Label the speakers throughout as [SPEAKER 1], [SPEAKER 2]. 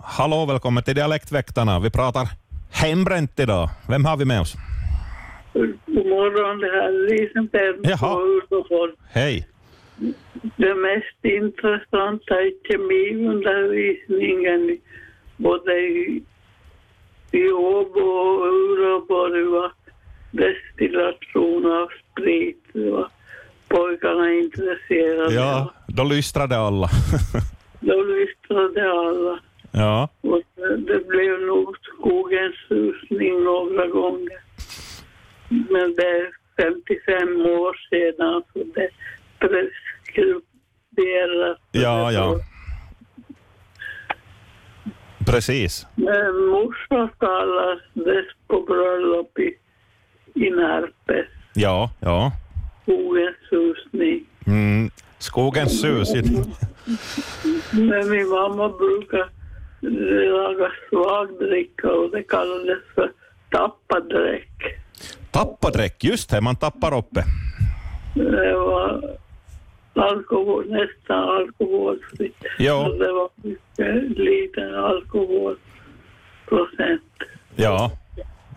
[SPEAKER 1] Hallå, välkommen till Dialektväktarna. Vi pratar hembränt idag. Vem har vi med oss?
[SPEAKER 2] God morgon, det här är Risenberg
[SPEAKER 1] Jaha.
[SPEAKER 2] på Ulvofors.
[SPEAKER 1] Hej.
[SPEAKER 2] Det mest intressanta är kemiundervisningen i- både i, i Åbo och Uleåbo. Det var destillation av sprit. Det var pojkarna intresserade.
[SPEAKER 1] Ja, då lystrade alla.
[SPEAKER 2] Då lyssnade alla.
[SPEAKER 1] ja.
[SPEAKER 2] Och det- det blev nog skogens susning några gånger. Men det är 55 år sedan så det preskriberas.
[SPEAKER 1] Ja, ja. Precis.
[SPEAKER 2] Men morsan kallades på bröllop i, i Närpes,
[SPEAKER 1] Ja, ja.
[SPEAKER 2] skogens susning.
[SPEAKER 1] Mm. Skogens sus.
[SPEAKER 2] Men min mamma brukar laga svagdricka och det kallades för tappadräck.
[SPEAKER 1] Tappadräck, just det, man tappar uppe.
[SPEAKER 2] Det var alkohol, nästan alkoholfritt.
[SPEAKER 1] Ja.
[SPEAKER 2] Och Det var mycket liten alkoholprocent.
[SPEAKER 1] Ja.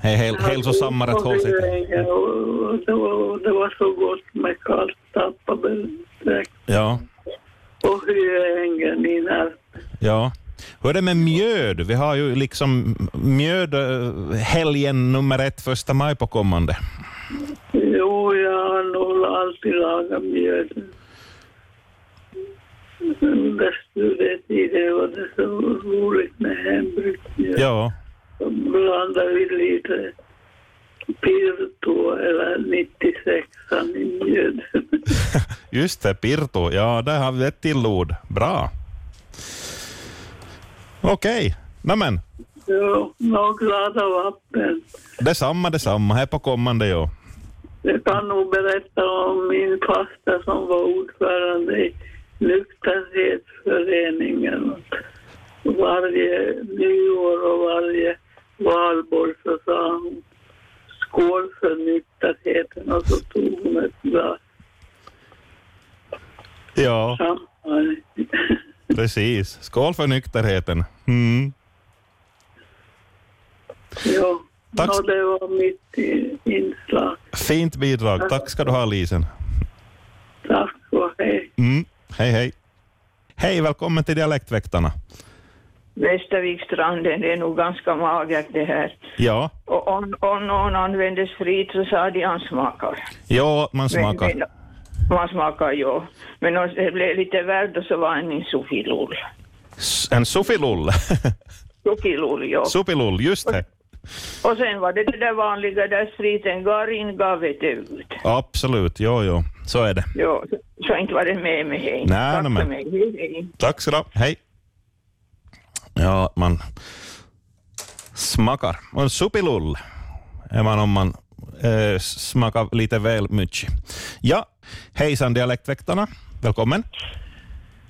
[SPEAKER 1] Hej, hel, hälsosammare
[SPEAKER 2] Och
[SPEAKER 1] håll sitt.
[SPEAKER 2] det- och det, var, det var så gott med kallt tappabedräkt
[SPEAKER 1] Ja,
[SPEAKER 2] och hyängen i när
[SPEAKER 1] ja. Hur är det med mjöd? Vi har ju liksom mjöd eh, helgen nummer ett, första maj på kommande.
[SPEAKER 2] Jo, jag har nog alltid lagat mjöl. Under studietiden var det så roligt med hembryggt mjöl.
[SPEAKER 1] Ja,
[SPEAKER 2] blandar vi lite Pirto eller 96 i mjöd.
[SPEAKER 1] just det, pirto. Ja, där har vi ett till ord. Bra. Okej, nämen.
[SPEAKER 2] Ja, Några glada vapen.
[SPEAKER 1] Detsamma, detsamma. Här på kommande, ja.
[SPEAKER 2] Jag kan nog berätta om min fasta som var ordförande i nykterhetsföreningen. Varje nyår och varje valborg så sa hon skål för nykterheten och så tog hon ett glas
[SPEAKER 1] Ja,
[SPEAKER 2] champagne.
[SPEAKER 1] precis. Skål för nykterheten. Mm.
[SPEAKER 2] Ja,
[SPEAKER 1] Tack.
[SPEAKER 2] och det var mitt i- inslag.
[SPEAKER 1] Fint bidrag. Tack ska du ha, Lisen.
[SPEAKER 2] Tack och hej.
[SPEAKER 1] Mm. Hej, hej. Hej, välkommen till Dialektväktarna.
[SPEAKER 3] Västervikstranden, det är nog ganska magert det här.
[SPEAKER 1] Ja,
[SPEAKER 3] Och om, om någon använde sprit så sa de han smakar.
[SPEAKER 1] ja man
[SPEAKER 3] Men-
[SPEAKER 1] smakar.
[SPEAKER 3] men- Man smakar, ja. Men om det blev lite värd och så var han en sofilull.
[SPEAKER 1] S- En sufilull.
[SPEAKER 3] Sofilull, ja.
[SPEAKER 1] sufilull, just det.
[SPEAKER 3] Och sen var det det där vanliga där spriten går in gav inte ut.
[SPEAKER 1] Absolut, jo, jo. Så är det.
[SPEAKER 3] Ja, så inte var det med mig hej.
[SPEAKER 1] Nej, nej,
[SPEAKER 3] Tack för
[SPEAKER 1] men-
[SPEAKER 3] mig. Hej, hej.
[SPEAKER 1] Tack så du ha. Hej. Ja, man smakar. Och en supilull är man om man eh, smakar lite väl mycket. Ja, hejsan Dialektväktarna. Välkommen.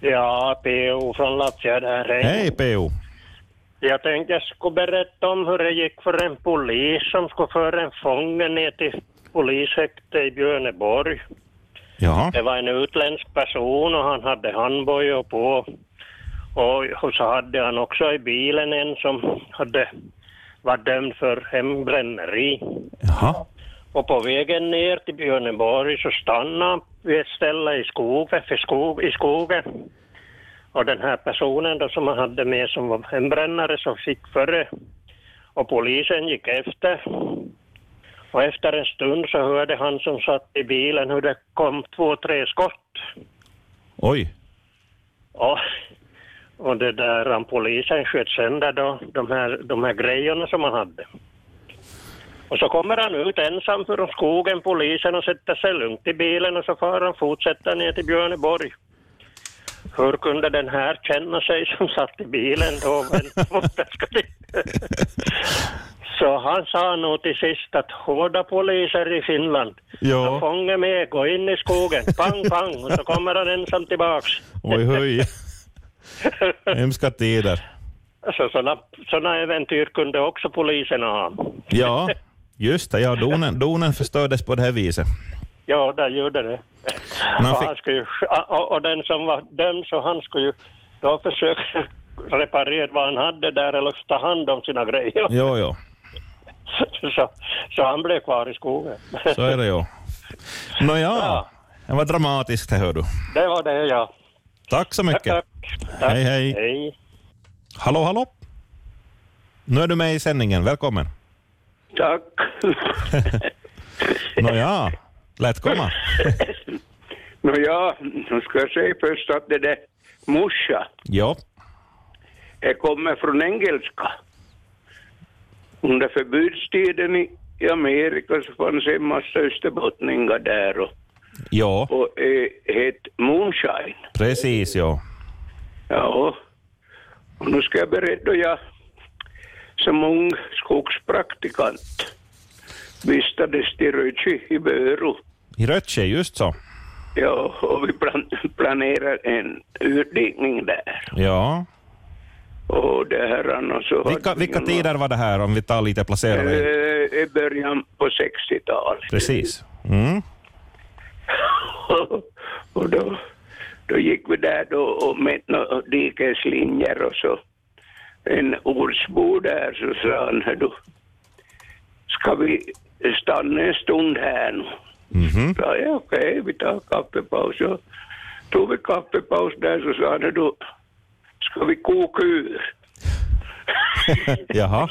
[SPEAKER 4] Ja, P.O. från Lattja där. Hej.
[SPEAKER 1] Hej PO.
[SPEAKER 4] Jag tänkte jag skulle berätta om hur det gick för en polis som skulle föra en fånge ner till polishäktet i Björneborg.
[SPEAKER 1] Jaha.
[SPEAKER 4] Det var en utländsk person och han hade handbojor på. Och, och så hade han också i bilen en som hade var dömd för hembränneri.
[SPEAKER 1] Jaha.
[SPEAKER 4] Och på vägen ner till Björneborg så stannade han vid ett ställe i skogen, för skog, i skogen. Och den här personen då som han hade med som var en brännare som fick före. Och polisen gick efter. Och efter en stund så hörde han som satt i bilen hur det kom två, tre skott.
[SPEAKER 1] Oj.
[SPEAKER 4] Ja. Och det där han polisen sköt sönder då, de här, de här grejerna som han hade. Och så kommer han ut ensam från skogen, polisen, och sätter sig lugnt i bilen och så får han fortsätta ner till Björneborg. Hur kunde den här känna sig som satt i bilen då? Men mot det ska det- så han sa nog till sist att hårda poliser i Finland, de
[SPEAKER 1] Ja.
[SPEAKER 4] fångar med, gå in i skogen, pang, pang, och så kommer han ensam tillbaks.
[SPEAKER 1] Oj, höj. Hemska tider.
[SPEAKER 4] Alltså, sådana, sådana äventyr kunde också poliserna ha.
[SPEAKER 1] Ja, just det. Ja, donen, donen förstördes på det här viset.
[SPEAKER 4] Ja, där gjorde det.
[SPEAKER 1] Men han
[SPEAKER 4] Och,
[SPEAKER 1] fick-
[SPEAKER 4] han skulle, ju- och, och den som var dömd, så han skulle ju då försöka reparerat vad han hade där eller ta hand om sina grejer.
[SPEAKER 1] Jo, jo.
[SPEAKER 4] Så, så han blev kvar i skogen.
[SPEAKER 1] Så är det ju. Nåja,
[SPEAKER 4] Ja.
[SPEAKER 1] det var dramatiskt det hör du.
[SPEAKER 4] Det var det ja.
[SPEAKER 1] Tack så mycket.
[SPEAKER 4] Tack, tack.
[SPEAKER 1] Hej, hej.
[SPEAKER 4] hej.
[SPEAKER 1] Hallå, hallå. Nu är du med i sändningen, välkommen.
[SPEAKER 5] Tack.
[SPEAKER 1] Nåja, lät komma.
[SPEAKER 5] Nå ja, nu ska jag säga först att det där morsa,
[SPEAKER 1] Jo,
[SPEAKER 5] det kommer från engelska. Under förbudstiden i, i Amerika så fanns en massa österbottningar där och,
[SPEAKER 1] jo,
[SPEAKER 5] och eh, het moonshine.
[SPEAKER 1] precis jo.
[SPEAKER 5] Ja, och nu ska jag berätta jag som ung skogspraktikant vistades till Rödji i Böro.
[SPEAKER 1] I Rötsche, just så.
[SPEAKER 5] Ja, och vi plan planerar en utdikning där.
[SPEAKER 1] Ja.
[SPEAKER 5] Och det här och så... hade
[SPEAKER 1] Vilka,
[SPEAKER 5] vi
[SPEAKER 1] vilka
[SPEAKER 5] någon-
[SPEAKER 1] tider var det här om vi tar lite placerade?
[SPEAKER 5] Mm. Eh, I början på 60-talet.
[SPEAKER 1] Precis. Mm.
[SPEAKER 5] och då, då gick vi där då och mätte nå- dikeslinjer och så. En ortsbo där så sa han, "Hör du, ska vi stanna en stund här nu?
[SPEAKER 1] Mhm.
[SPEAKER 5] sa jag, okej, vi tar kaffepaus. Så tog vi kaffepaus där så sa han, "Hör du, ska vi koka ur?
[SPEAKER 1] Jaha.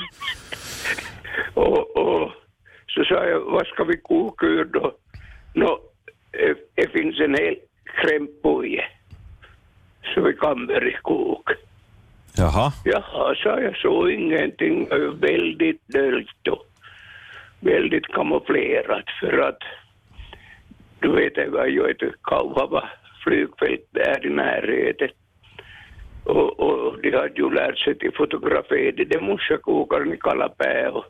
[SPEAKER 5] Och, och så sa jag, vad ska vi koka ur då? Nå, eh, det finns en hel krämpuje. Så vi kan börja koka.
[SPEAKER 1] Jaha.
[SPEAKER 5] Jaha, sa jag, så ingenting. eh, Väldigt döljt och väldigt kamouflerat för att du vet, det var ju ett Kauhava flygfält där i närheten. Och, och de hade ju lärt sig till fotografera de där morsakokaren i Kalapää och,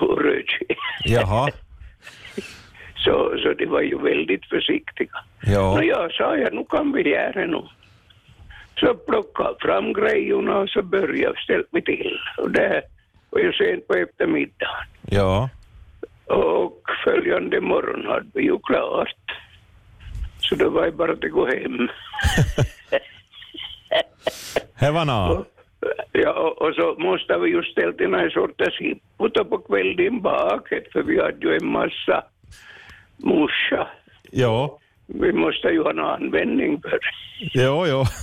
[SPEAKER 5] och Rödski.
[SPEAKER 1] Jaha.
[SPEAKER 5] Så, så de var ju väldigt försiktiga.
[SPEAKER 1] Jo.
[SPEAKER 5] Nå ja, sa jag, nu kan vi göra nu. Så plocka fram grejerna och så började ställa mig till. Och det var ju sent på eftermiddagen.
[SPEAKER 1] Ja.
[SPEAKER 5] Och följande morgon hade vi ju klart. Så det var ju bara att gå hem.
[SPEAKER 1] Det var nå.
[SPEAKER 5] Ja, och- och så måste vi ju ställa till någon sorts hipputa på kvällen bak, för vi hade ju en massa morsa.
[SPEAKER 1] Jo.
[SPEAKER 5] Vi måste ju ha någon användning för det.
[SPEAKER 1] Jo, jo.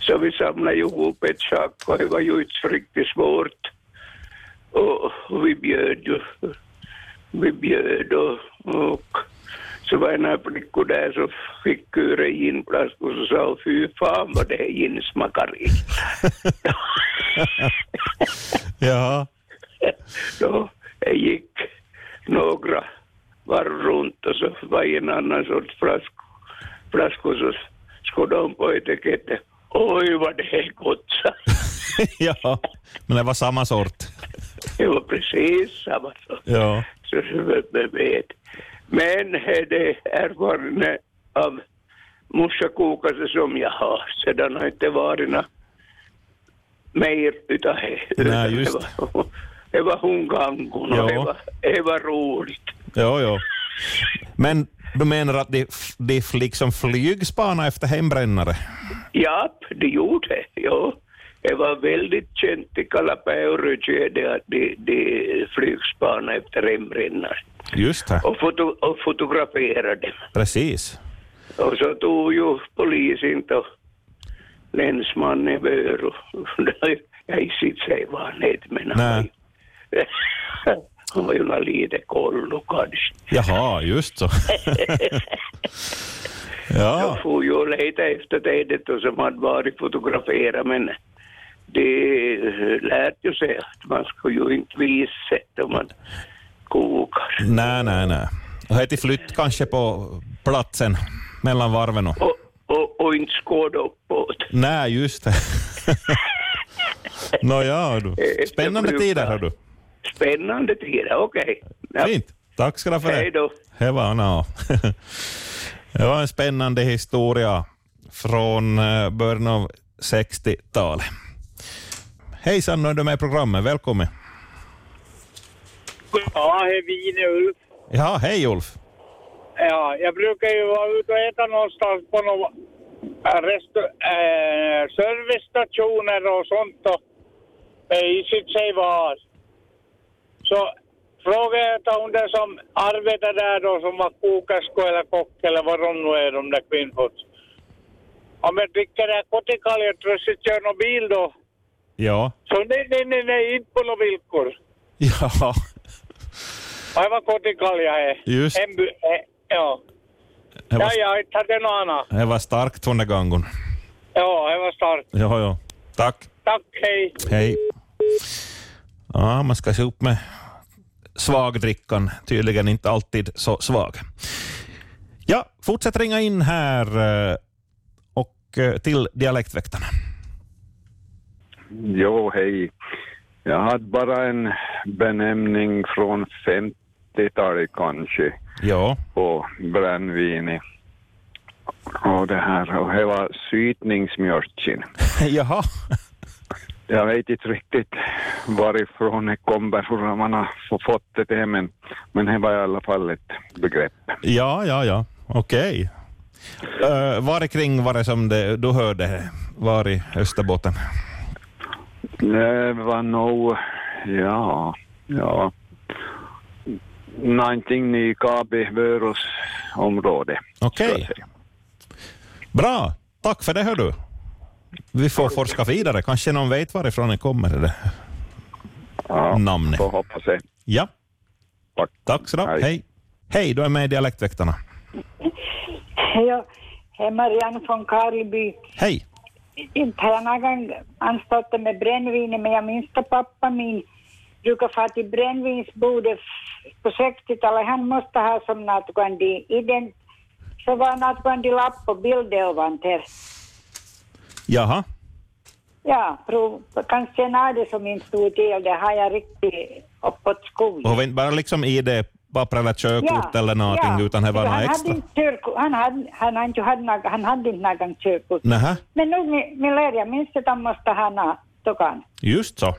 [SPEAKER 5] Så vi samlade ju ihop ett sak och det var ju inte riktigt svårt. Och och vi bjöd ju. Vi bjöd och, och så var det några flickor där som fick ur en ginflaska och så sa hon, fy fan vad det här gin smakar illa.
[SPEAKER 1] Jaha.
[SPEAKER 5] Då jag gick några varv runt och så var det en annan sorts flask, flaska och så skådde hon på etiketten. Oj vad det här är gott, sa hon.
[SPEAKER 1] Ja. Men det var samma sort.
[SPEAKER 5] Det var precis samma sak.
[SPEAKER 1] Ja.
[SPEAKER 5] så vi vet. Men eh, det är bara av morsakokare som jag har, så den har inte varit nå- mer utav det. Utan
[SPEAKER 1] just
[SPEAKER 5] det. var- Det var hungangon och
[SPEAKER 1] Ja.
[SPEAKER 5] det var, det var roligt.
[SPEAKER 1] Jo, jo. Men du menar att de, de liksom flygspanar efter hembrännare?
[SPEAKER 5] Ja, det gjorde det. Ja. Det var väldigt känt i Kalapää och Rödtjärde att de, de flygspanade efter hembrännare
[SPEAKER 1] Just det.
[SPEAKER 5] och, foto, och fotograferade dem.
[SPEAKER 1] Precis.
[SPEAKER 5] Och så tog ju polisen då länsmannen över och jag inte säga vad han hette men han var
[SPEAKER 1] Nej.
[SPEAKER 5] ju- han var ju nå lite kollo kanske.
[SPEAKER 1] Jaha, just så.
[SPEAKER 5] Jag
[SPEAKER 1] Ja,
[SPEAKER 5] får ju leta efter det det som hade varit fotograferat men det eh, lät ju sig att man ska ju inte visa sig då man kokar.
[SPEAKER 1] nej, nej, nej. Och heti flytt kanske på platsen mellan varven och...
[SPEAKER 5] Och, och, och inte skåda uppåt.
[SPEAKER 1] Nej, just det. Nåja,
[SPEAKER 5] E,
[SPEAKER 1] du. Spännande tider, hör du.
[SPEAKER 5] Spännande tider, okej. Ja.
[SPEAKER 1] Fint. Tack ska du ha för det.
[SPEAKER 5] Hej då.
[SPEAKER 1] Det var, nå. det var en spännande historia från eh, början av 60-talet. Hejsan, nu är du med i programmet. Välkommen.
[SPEAKER 6] Ja, hej Vine Ulf.
[SPEAKER 1] Ja, hej Ulf.
[SPEAKER 6] Ja, jag brukar ju vara ute och äta någonstans på någon
[SPEAKER 7] restu, äh, servicestationer och sånt och det isigt sig var. Så frågade jag ett av de som arbetar där då som var kokerskor eller kock eller vad de nu är de där kvinnorna. Om jag dricker det här kotikaljet och så kör någon bil då.
[SPEAKER 1] Ja.
[SPEAKER 7] Så nej, nej, nej, nej, inte på några villkor.
[SPEAKER 1] Ja.
[SPEAKER 7] Aivan kotikalja är.
[SPEAKER 1] Just.
[SPEAKER 7] Hemby, eh, ja.
[SPEAKER 1] Det
[SPEAKER 7] Ja,
[SPEAKER 1] var,
[SPEAKER 7] ja, inte hade jag något annat.
[SPEAKER 1] det var starkt den där gången.
[SPEAKER 7] Ja, det var starkt.
[SPEAKER 1] Ja, ja. Tack.
[SPEAKER 7] Tack, hej.
[SPEAKER 1] Hej. Ja, man ska se upp med svagdrickan. Tydligen inte alltid så svag. Ja, fortsätt ringa in här eh, och eh, till dialektväktarna.
[SPEAKER 6] Jo, hej. Jag hade bara en benämning från 50-talet kanske
[SPEAKER 1] Ja,
[SPEAKER 6] på brännvin. Och det här, och det var sytningsmjölken.
[SPEAKER 1] jaha.
[SPEAKER 6] Jag vet inte riktigt varifrån det kommer, hur man har få- fått det till, men, men det var i alla fall ett begrepp.
[SPEAKER 1] Ja, ja, ja. Okej. Eh, var det kring var det som det, du hörde? det? Var i Österbotten?
[SPEAKER 6] Det var nog, ja, ja, någonting i Kabi Vörås område.
[SPEAKER 1] Okej.
[SPEAKER 6] så att säga.
[SPEAKER 1] Bra. Tack för det, hör du. Vi får forska vidare. Kanske någon vet varifrån det kommer, det där
[SPEAKER 6] Ja,
[SPEAKER 1] namnet.
[SPEAKER 6] får hoppas det.
[SPEAKER 1] Ja.
[SPEAKER 6] Tack.
[SPEAKER 1] Tack så du ha.
[SPEAKER 6] Hej.
[SPEAKER 1] Hej. Hej, du är med i Dialektväktarna.
[SPEAKER 8] Hej, jag är Marianne från Karlby.
[SPEAKER 1] Hej.
[SPEAKER 8] Inte har jag någon gång anstaltat med brännvin, men jag minns att pappa min brukade få till brännvinsbordet på 60-talet. Han måste ha som något i den. Så var något lapp på bildervanter.
[SPEAKER 1] Jaha.
[SPEAKER 8] Ja, prov, kanske en av det som inte stod till, det har jag riktigt uppåt skogen.
[SPEAKER 1] Och var inte bara liksom ID-papper eller körkort eller någonting, utan det var
[SPEAKER 8] han
[SPEAKER 1] något
[SPEAKER 8] hade
[SPEAKER 1] extra?
[SPEAKER 8] inte körkort, han hade, han hade, inte haft någon- han hade inte någon körkort.
[SPEAKER 1] Nähä,
[SPEAKER 8] Men nog mi- min lärja minns att han måste ha na- tukan.
[SPEAKER 1] just så.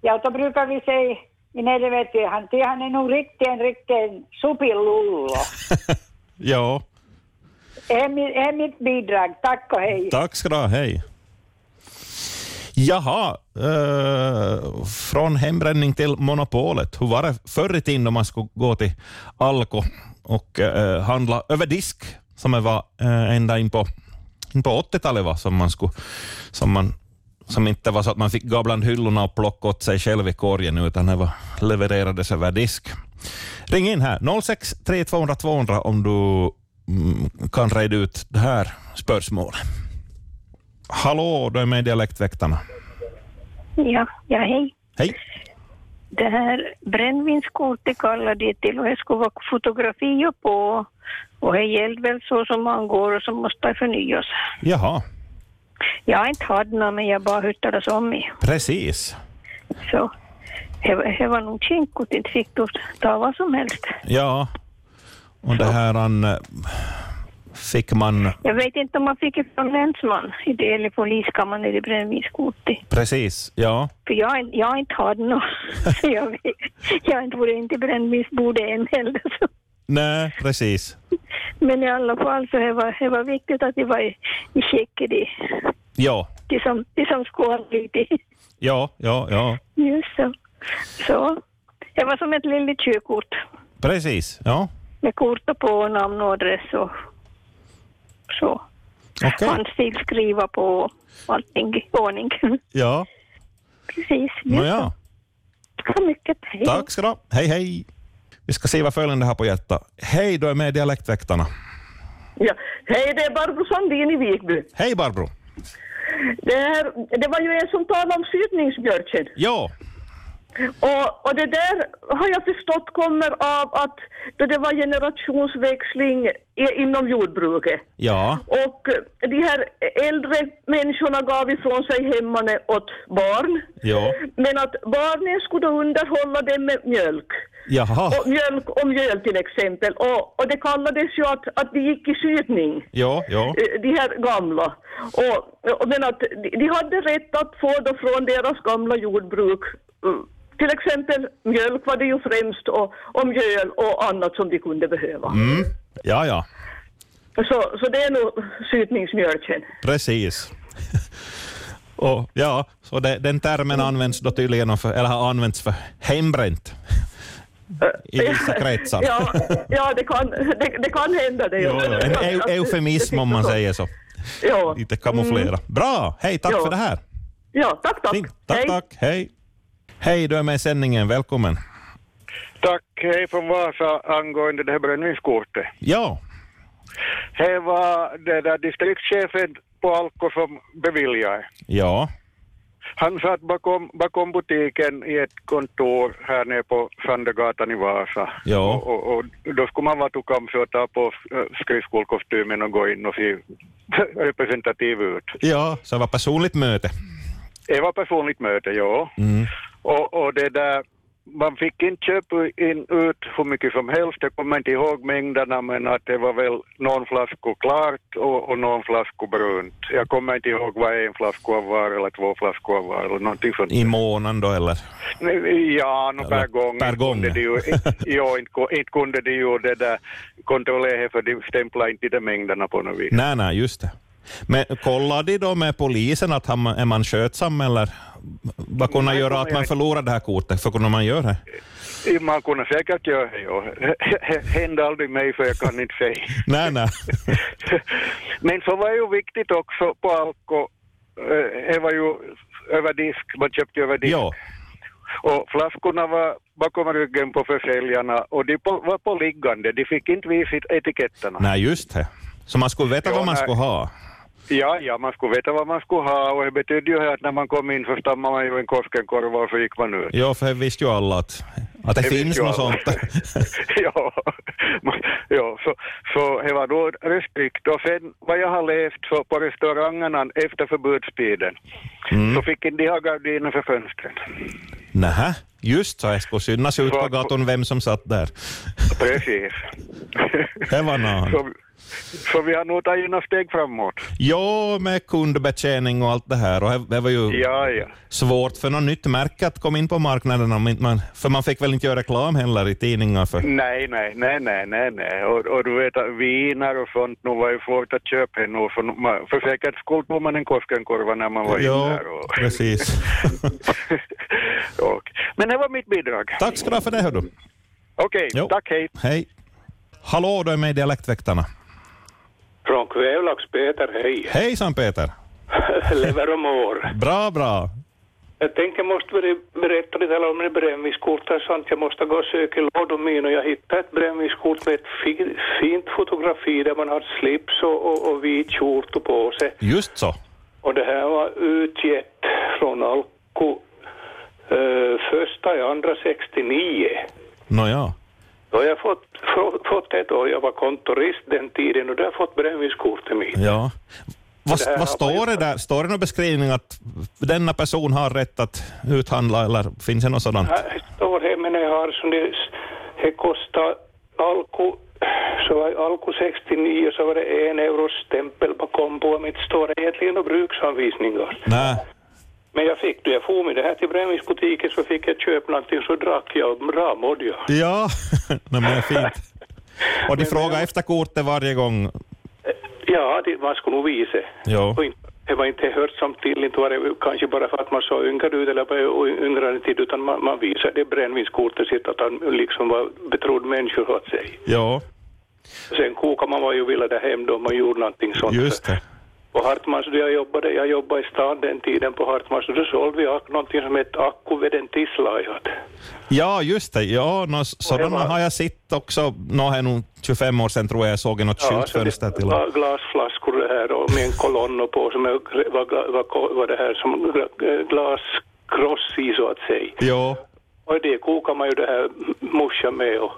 [SPEAKER 8] Ja, då brukar vi säga i nere vet vi, han, ty han är nog riktigt en riktig supilullo.
[SPEAKER 1] Ja,
[SPEAKER 8] Det är mi- det är mitt bidrag, tack och hej.
[SPEAKER 1] tack ska du ha. Hej. Jaha, eh, från hembränning till monopolet. Hur var det förr i tiden om man skulle gå till Alko och eh, handla över disk, som det var eh, ända in på, in på 80-talet, va, som man skulle, som man som inte var så att man fick gå bland hyllorna och plocka åt sig själv i korgen, utan det var, levererades över disk. Ring in här, 06 200 200 om du mm, kan reda ut det här spörsmålet. Hallå, du är med i Dialektväktarna.
[SPEAKER 9] Ja, ja hej.
[SPEAKER 1] Hej.
[SPEAKER 9] Det här brännvinskortet kallar det till och det skulle vara fotografier på och det gällde väl så som man går och som måste förnyas.
[SPEAKER 1] Jaha,
[SPEAKER 9] Jag har inte haft något men jag bara hörde det om mig.
[SPEAKER 1] precis.
[SPEAKER 9] Så det var- det var nog kinkigt, inte fick du ta vad som helst.
[SPEAKER 1] Ja, och det här han, eh, fick man
[SPEAKER 9] Jag vet inte om man fick det från länsman i det, eller poliskammaren eller brännvinskortet.
[SPEAKER 1] precis. Ja,
[SPEAKER 9] För jag, har inte- jag har inte haft något. Så jag, vet, jag har inte varit inte brännvinsbordet än heller. Så.
[SPEAKER 1] nej, precis.
[SPEAKER 9] Men i alla fall så det var det var viktigt att det var i, i skick i det.
[SPEAKER 1] Ja,
[SPEAKER 9] Det som, det som skål lite.
[SPEAKER 1] ja, ja, ja,
[SPEAKER 9] Just så. Så. Det var som ett litet körkort
[SPEAKER 1] precis. Ja,
[SPEAKER 9] med kort på och namn och adress och så.
[SPEAKER 1] okej.
[SPEAKER 9] Handstil skriva på allting i ordning.
[SPEAKER 1] Ja,
[SPEAKER 9] Precis. Just
[SPEAKER 1] nåja.
[SPEAKER 9] så. Så mycket. Hej.
[SPEAKER 1] Tack ska du ha. Hej, hej. Vi ska se vad följande har på hjärtat. Hej, du är med i Dialektväktarna.
[SPEAKER 10] Ja. Hej, det är Barbro Sandin i Vikby.
[SPEAKER 1] Hej, Barbro.
[SPEAKER 10] Det, här, det var ju en som talade om sytningsbjörken.
[SPEAKER 1] Ja,
[SPEAKER 10] Och, och det där har jag förstått kommer av att då det var generationsväxling i, inom jordbruket.
[SPEAKER 1] ja,
[SPEAKER 10] Och eh, de här äldre människorna gav ifrån sig hemmarna åt barn.
[SPEAKER 1] ja,
[SPEAKER 10] Men att barnen skulle då underhålla dem med mjölk.
[SPEAKER 1] jaha,
[SPEAKER 10] Och mjölk och mjöl till exempel. Och, och det kallades ju att, att de gick i sytning.
[SPEAKER 1] ja, ja,
[SPEAKER 10] Eh, de här gamla. Och, och men att de, de hade rätt att få då från deras gamla jordbruk eh, till exempel mjölk var det ju
[SPEAKER 1] Mm.
[SPEAKER 10] främst och, och mjöl och annat som de kunde behöva.
[SPEAKER 1] ja, ja,
[SPEAKER 10] Så, så det är nog sytningsmjölken.
[SPEAKER 1] Precis. Och ja, så det, den
[SPEAKER 10] Mm.
[SPEAKER 1] termen används då tydligen för, eller har använts för hembränt i vissa kretsar.
[SPEAKER 10] Eh, ja, ja det, kan, det, det kan hända det.
[SPEAKER 1] Jo, jo, en eu- eufemism om man säger så.
[SPEAKER 10] Ja,
[SPEAKER 1] Lite kamouflera. Bra! Hej, tack
[SPEAKER 10] Mm. Ja.
[SPEAKER 1] för det här.
[SPEAKER 10] ja tack, tack.
[SPEAKER 1] Fint. Tack,
[SPEAKER 10] Hej.
[SPEAKER 1] tack. Hej. Hej, du är med i sändningen. Välkommen.
[SPEAKER 6] Tack, hej från Vasa angående det här brännvinskortet.
[SPEAKER 1] Ja,
[SPEAKER 6] Det var det där distriktschefen på Alko som beviljade.
[SPEAKER 1] ja,
[SPEAKER 6] Han satt bakom, bakom butiken i ett kontor här nere på Sandögatan i Vasa.
[SPEAKER 1] Ja.
[SPEAKER 6] Och, och, och då skulle man vara tokam för att ta på eh, skridskokostymen och gå in och se representativ ut.
[SPEAKER 1] ja. Så det var personligt möte.
[SPEAKER 6] Det var personligt möte, ja.
[SPEAKER 1] Mm.
[SPEAKER 6] Och, och det där, man fick inte köpa in ut hur mycket som helst. Jag kommer inte ihåg mängderna, men att det var väl någon flasko klart och, och någon flasko brunt. Jag kommer inte ihåg vad en flasko var eller två flaskor var eller någonting sånt.
[SPEAKER 1] I månaden då, eller?
[SPEAKER 6] Nej, Ja, no, per
[SPEAKER 1] Eller
[SPEAKER 6] gång.
[SPEAKER 1] per
[SPEAKER 6] Inte
[SPEAKER 1] gång.
[SPEAKER 6] kunde de ju- Ja, inte ku- inte kunde de ju det där kontrollera, för de stämplade inte de mängderna på något vis.
[SPEAKER 1] Nej, nej, just det. Men kollade de då med polisen att han, är man skötsam eller vad kunde
[SPEAKER 6] Nej,
[SPEAKER 1] göra
[SPEAKER 6] kommer
[SPEAKER 1] att
[SPEAKER 6] jag
[SPEAKER 1] man
[SPEAKER 6] inte.
[SPEAKER 1] förlorade det här kortet? För kunde man göra det?
[SPEAKER 6] Man kunde säkert göra det, ja. Hände aldrig mig, för jag kan inte säga.
[SPEAKER 1] Nej, nej.
[SPEAKER 6] Men så var ju viktigt också på Alko, eh, det var ju över disk, man köpte över disk.
[SPEAKER 1] ja,
[SPEAKER 6] Och flaskorna var bakom ryggen på försäljarna och de på, var på liggande, de fick inte visa etiketterna.
[SPEAKER 1] nej, just det. Så man skulle veta
[SPEAKER 6] Ja,
[SPEAKER 1] vad man
[SPEAKER 6] nej.
[SPEAKER 1] skulle ha.
[SPEAKER 6] Ja, ja, man skulle veta vad man skulle ha och det betydde ju att när man kom in så stammade man ju en Koskenkorva och så gick man ut.
[SPEAKER 1] Ja, för det visste ju alla att, att det,
[SPEAKER 6] Det
[SPEAKER 1] finns
[SPEAKER 6] visste ju
[SPEAKER 1] något
[SPEAKER 6] alla.
[SPEAKER 1] sånt.
[SPEAKER 6] ja, Man- ja så, så det var då restrikt. Och sen vad jag har läst så på restaurangerna efter förbudstiden
[SPEAKER 1] Mm.
[SPEAKER 6] så fick inte de ha gardiner för fönstren.
[SPEAKER 1] Nähä, just så. Det skulle synas ut på
[SPEAKER 6] Så-
[SPEAKER 1] gatan vem som satt där.
[SPEAKER 6] Precis.
[SPEAKER 1] Det var någon.
[SPEAKER 6] så, så vi har nog tagit några steg framåt.
[SPEAKER 1] Ja, med kundbetjäning och allt det här. Och det- det var ju
[SPEAKER 6] Ja, ja.
[SPEAKER 1] svårt för något nytt märke att komma in på marknaden. Om inte man, för man fick väl inte göra reklam heller i tidningar för...
[SPEAKER 6] Nej, nej, nej, nej, nej, nej. Och, och du vet, att viner och sånt, nu var ju svårt att köpa nu. För, man- för säkerhets skull tog man en Koskenkorva när man var inne
[SPEAKER 1] Ja,
[SPEAKER 6] där. Och,
[SPEAKER 1] precis.
[SPEAKER 6] och, men det var mitt bidrag.
[SPEAKER 1] Tack ska du ha för det, hördu.
[SPEAKER 6] Okej,
[SPEAKER 1] Jo.
[SPEAKER 6] tack, hej.
[SPEAKER 1] Hej. Hallå, du är med i Dialektväktarna.
[SPEAKER 11] Från Kvävlax, Peter, hej.
[SPEAKER 1] Hejsan Peter!
[SPEAKER 11] Lever och mår.
[SPEAKER 1] Bra, bra.
[SPEAKER 11] Jag tänker måste ber- berätta lite om det brännvinskort och sånt. Jag måste gå och söka i lådor min och jag hittade ett brännvinskort med ett fi- fint fotografi där man har slips och, och, och vit skjorta på sig.
[SPEAKER 1] Just så.
[SPEAKER 11] Och det här var utgett från Alko eh, första i andra 69.
[SPEAKER 1] Nåja.
[SPEAKER 11] Då har jag fått, få, fått ett år, jag var kontorist den tiden och då har jag fått brännvinskortet mitt.
[SPEAKER 1] Ja. Vad,
[SPEAKER 11] Det här har
[SPEAKER 1] vad står
[SPEAKER 11] man
[SPEAKER 1] det
[SPEAKER 11] gjort.
[SPEAKER 1] där? Står det någon beskrivning att denna person har rätt att uthandla eller finns det något sådant?
[SPEAKER 11] Jag står här men jag har som det, det kostar alko, så var alko 69 så var det en euros stämpel bakom på mitt står egentligen och bruksanvisningar.
[SPEAKER 1] Nej.
[SPEAKER 11] Men jag fick det, jag for med det här till brännvinsbutiken så fick jag köpa någonting så drack jag och bra mådde jag.
[SPEAKER 1] Ja, Nej, men det är fint. Och de frågar efter kortet varje gång.
[SPEAKER 11] Ja, det, man skulle nog visa.
[SPEAKER 1] Ja.
[SPEAKER 11] Och inte- Det var inte hörsamt till, inte var det kanske bara för att man såg yngre ut eller var yngre än tid utan man, man visade det brännvinskortet sitt att han liksom var betrodd människor åt sig.
[SPEAKER 1] Ja,
[SPEAKER 11] Sen kokade man vad ju ville där hem då man gjorde någonting sånt.
[SPEAKER 1] just det.
[SPEAKER 11] På Hartmans, då jag jobbade, jag jobbade i stan den tiden på Hartmans, och då sålde vi ak- någonting som hette akkuvedentisslajat.
[SPEAKER 1] Ja, just det. Ja, nå, sådana
[SPEAKER 11] var-
[SPEAKER 1] har jag sett också. Nå, det är nog 25 år sedan tror jag jag såg i något skyltfönster till.
[SPEAKER 11] var glasflaskor det här och med en kolonn och på som är- var, gla- var, ko- var det här som gla- eh, glaskross i så att säga.
[SPEAKER 1] Ja,
[SPEAKER 11] Och det kokade man ju det här morsan med och,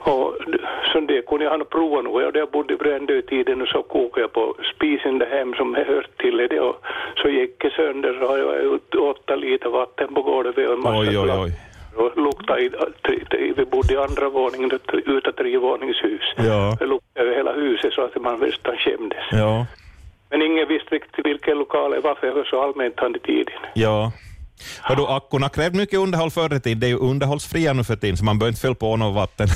[SPEAKER 11] och d- så det kunde jag ha provat nog. Jag där bodde i Brändö-tiden och så kokade jag på spisen där hem som jag hört till det och så gick det sönder så har jag ut åtta liter vatten på golvet och en massa
[SPEAKER 1] oj, oj,
[SPEAKER 11] glass.
[SPEAKER 1] oj.
[SPEAKER 11] Och luktade i, tri- tri- vi bodde i andra våningen ut- utav trevåningshus.
[SPEAKER 1] Ja.
[SPEAKER 11] Det luktade över hela huset så att man nästan skämdes.
[SPEAKER 1] Ja,
[SPEAKER 11] Men ingen visste riktigt vilken lokal det var för jag var så allmänt han i tiden.
[SPEAKER 1] ja. Hördu, akkorna krävde mycket underhåll förr i tiden. Det är ju underhållsfria nu för tiden, så man behöver inte fylla på något vatten.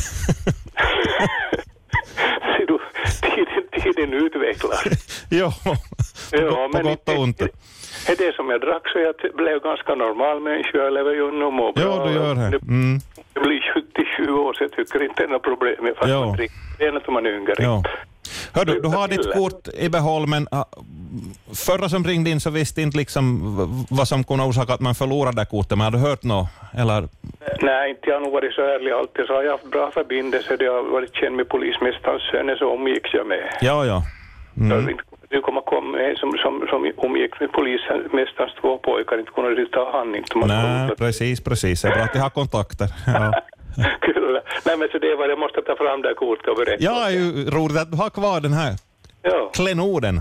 [SPEAKER 11] Ser du, tiden, den utvecklar.
[SPEAKER 1] Jo,
[SPEAKER 11] Ja,
[SPEAKER 1] på
[SPEAKER 11] men
[SPEAKER 1] gott och ont.
[SPEAKER 11] inte- Det är det som jag drack så jag blev ganska normal människa. Jag lever ju nu och mår
[SPEAKER 1] Jo,
[SPEAKER 11] bra.
[SPEAKER 1] du gör det. Mm.
[SPEAKER 11] Det blir 77 år så jag tycker inte det är något problem. Fast
[SPEAKER 1] Ja.
[SPEAKER 11] man dricker det är när man är yngre.
[SPEAKER 1] Ja. Hör du, du har
[SPEAKER 11] Lycka till.
[SPEAKER 1] ditt kort i behåll, men ah, förra som ringde in så visste inte liksom v- vad som kunde orsaka att man förlorade det kortet. Men har du hört något? Eller,
[SPEAKER 11] Nej, inte jag har nog varit så ärlig alltid. Så har jag haft bra förbindelser. Jag har varit känd med polismästarens söner så omgicks jag med.
[SPEAKER 1] ja, ja.
[SPEAKER 11] Jag vet inte, Du kommer komma med som, som, som omgicks med polismästarens två pojkar. Inte kunde riktigt ta hand inte. Man
[SPEAKER 1] Nej, precis, precis. Det är bra att jag har kontakter. Ja.
[SPEAKER 11] Kyllä. Nej men så det var det. Jag måste ta fram det här kortet och berätta.
[SPEAKER 1] Jag är ju roligt att du har kvar den här
[SPEAKER 11] Ja.
[SPEAKER 1] klenoden.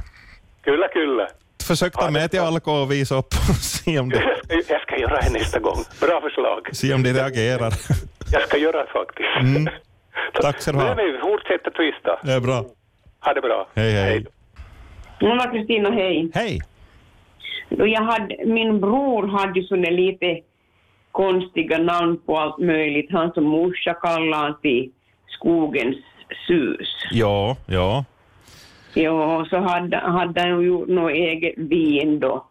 [SPEAKER 11] Kyllä, kyllä.
[SPEAKER 1] Försök ta med till Alko och visa upp och se om de,
[SPEAKER 11] Jag ska göra det nästa gång. Bra förslag.
[SPEAKER 1] se om de reagerar.
[SPEAKER 11] Jag ska göra det faktiskt.
[SPEAKER 1] Mm. Tack ska du
[SPEAKER 11] Nej,
[SPEAKER 1] ha.
[SPEAKER 11] nej, fortsätt att twista.
[SPEAKER 1] Det är bra.
[SPEAKER 11] Ha det bra.
[SPEAKER 1] Hej, hej.
[SPEAKER 12] Mona Kristina, hej.
[SPEAKER 1] Hej.
[SPEAKER 12] Då jag hade, min bror hade ju såna lite konstiga namn på allt möjligt. Han som morsa kallade han till skogens sus.
[SPEAKER 1] Ja, ja.
[SPEAKER 12] Ja, och så hade, hade han ju gjort något eget vin då,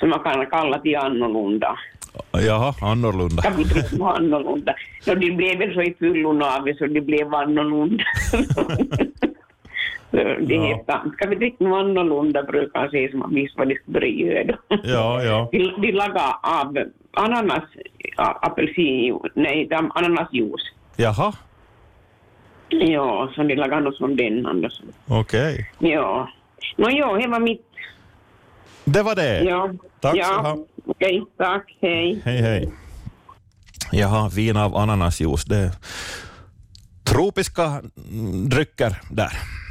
[SPEAKER 12] som man kan kalla till annorlunda.
[SPEAKER 1] Jaha, annorlunda.
[SPEAKER 12] Jag vet inte om det var annorlunda. No, det blev väl så i fyllon av det, så det blev annorlunda. Så det
[SPEAKER 1] Ja.
[SPEAKER 12] hette han. Ska vi dricka något annorlunda brukar han säga, som man visste vad de skulle börja göra då.
[SPEAKER 1] Ja, ja.
[SPEAKER 12] De, de lagar av ananas, a- apelsinjuice, nej, de- ananasjuice.
[SPEAKER 1] Jaha,
[SPEAKER 12] Ja, så de lagar något som den andra.
[SPEAKER 1] okej.
[SPEAKER 12] Ja. Nå jo, det var mitt.
[SPEAKER 1] Det var det.
[SPEAKER 12] Ja.
[SPEAKER 1] Eh, Tack
[SPEAKER 12] ja.
[SPEAKER 1] ska du ha.
[SPEAKER 12] Okej, tack. Hej.
[SPEAKER 1] Hej, hej. Jaha, vin av ananasjuice. Det är tropiska mm, drycker där.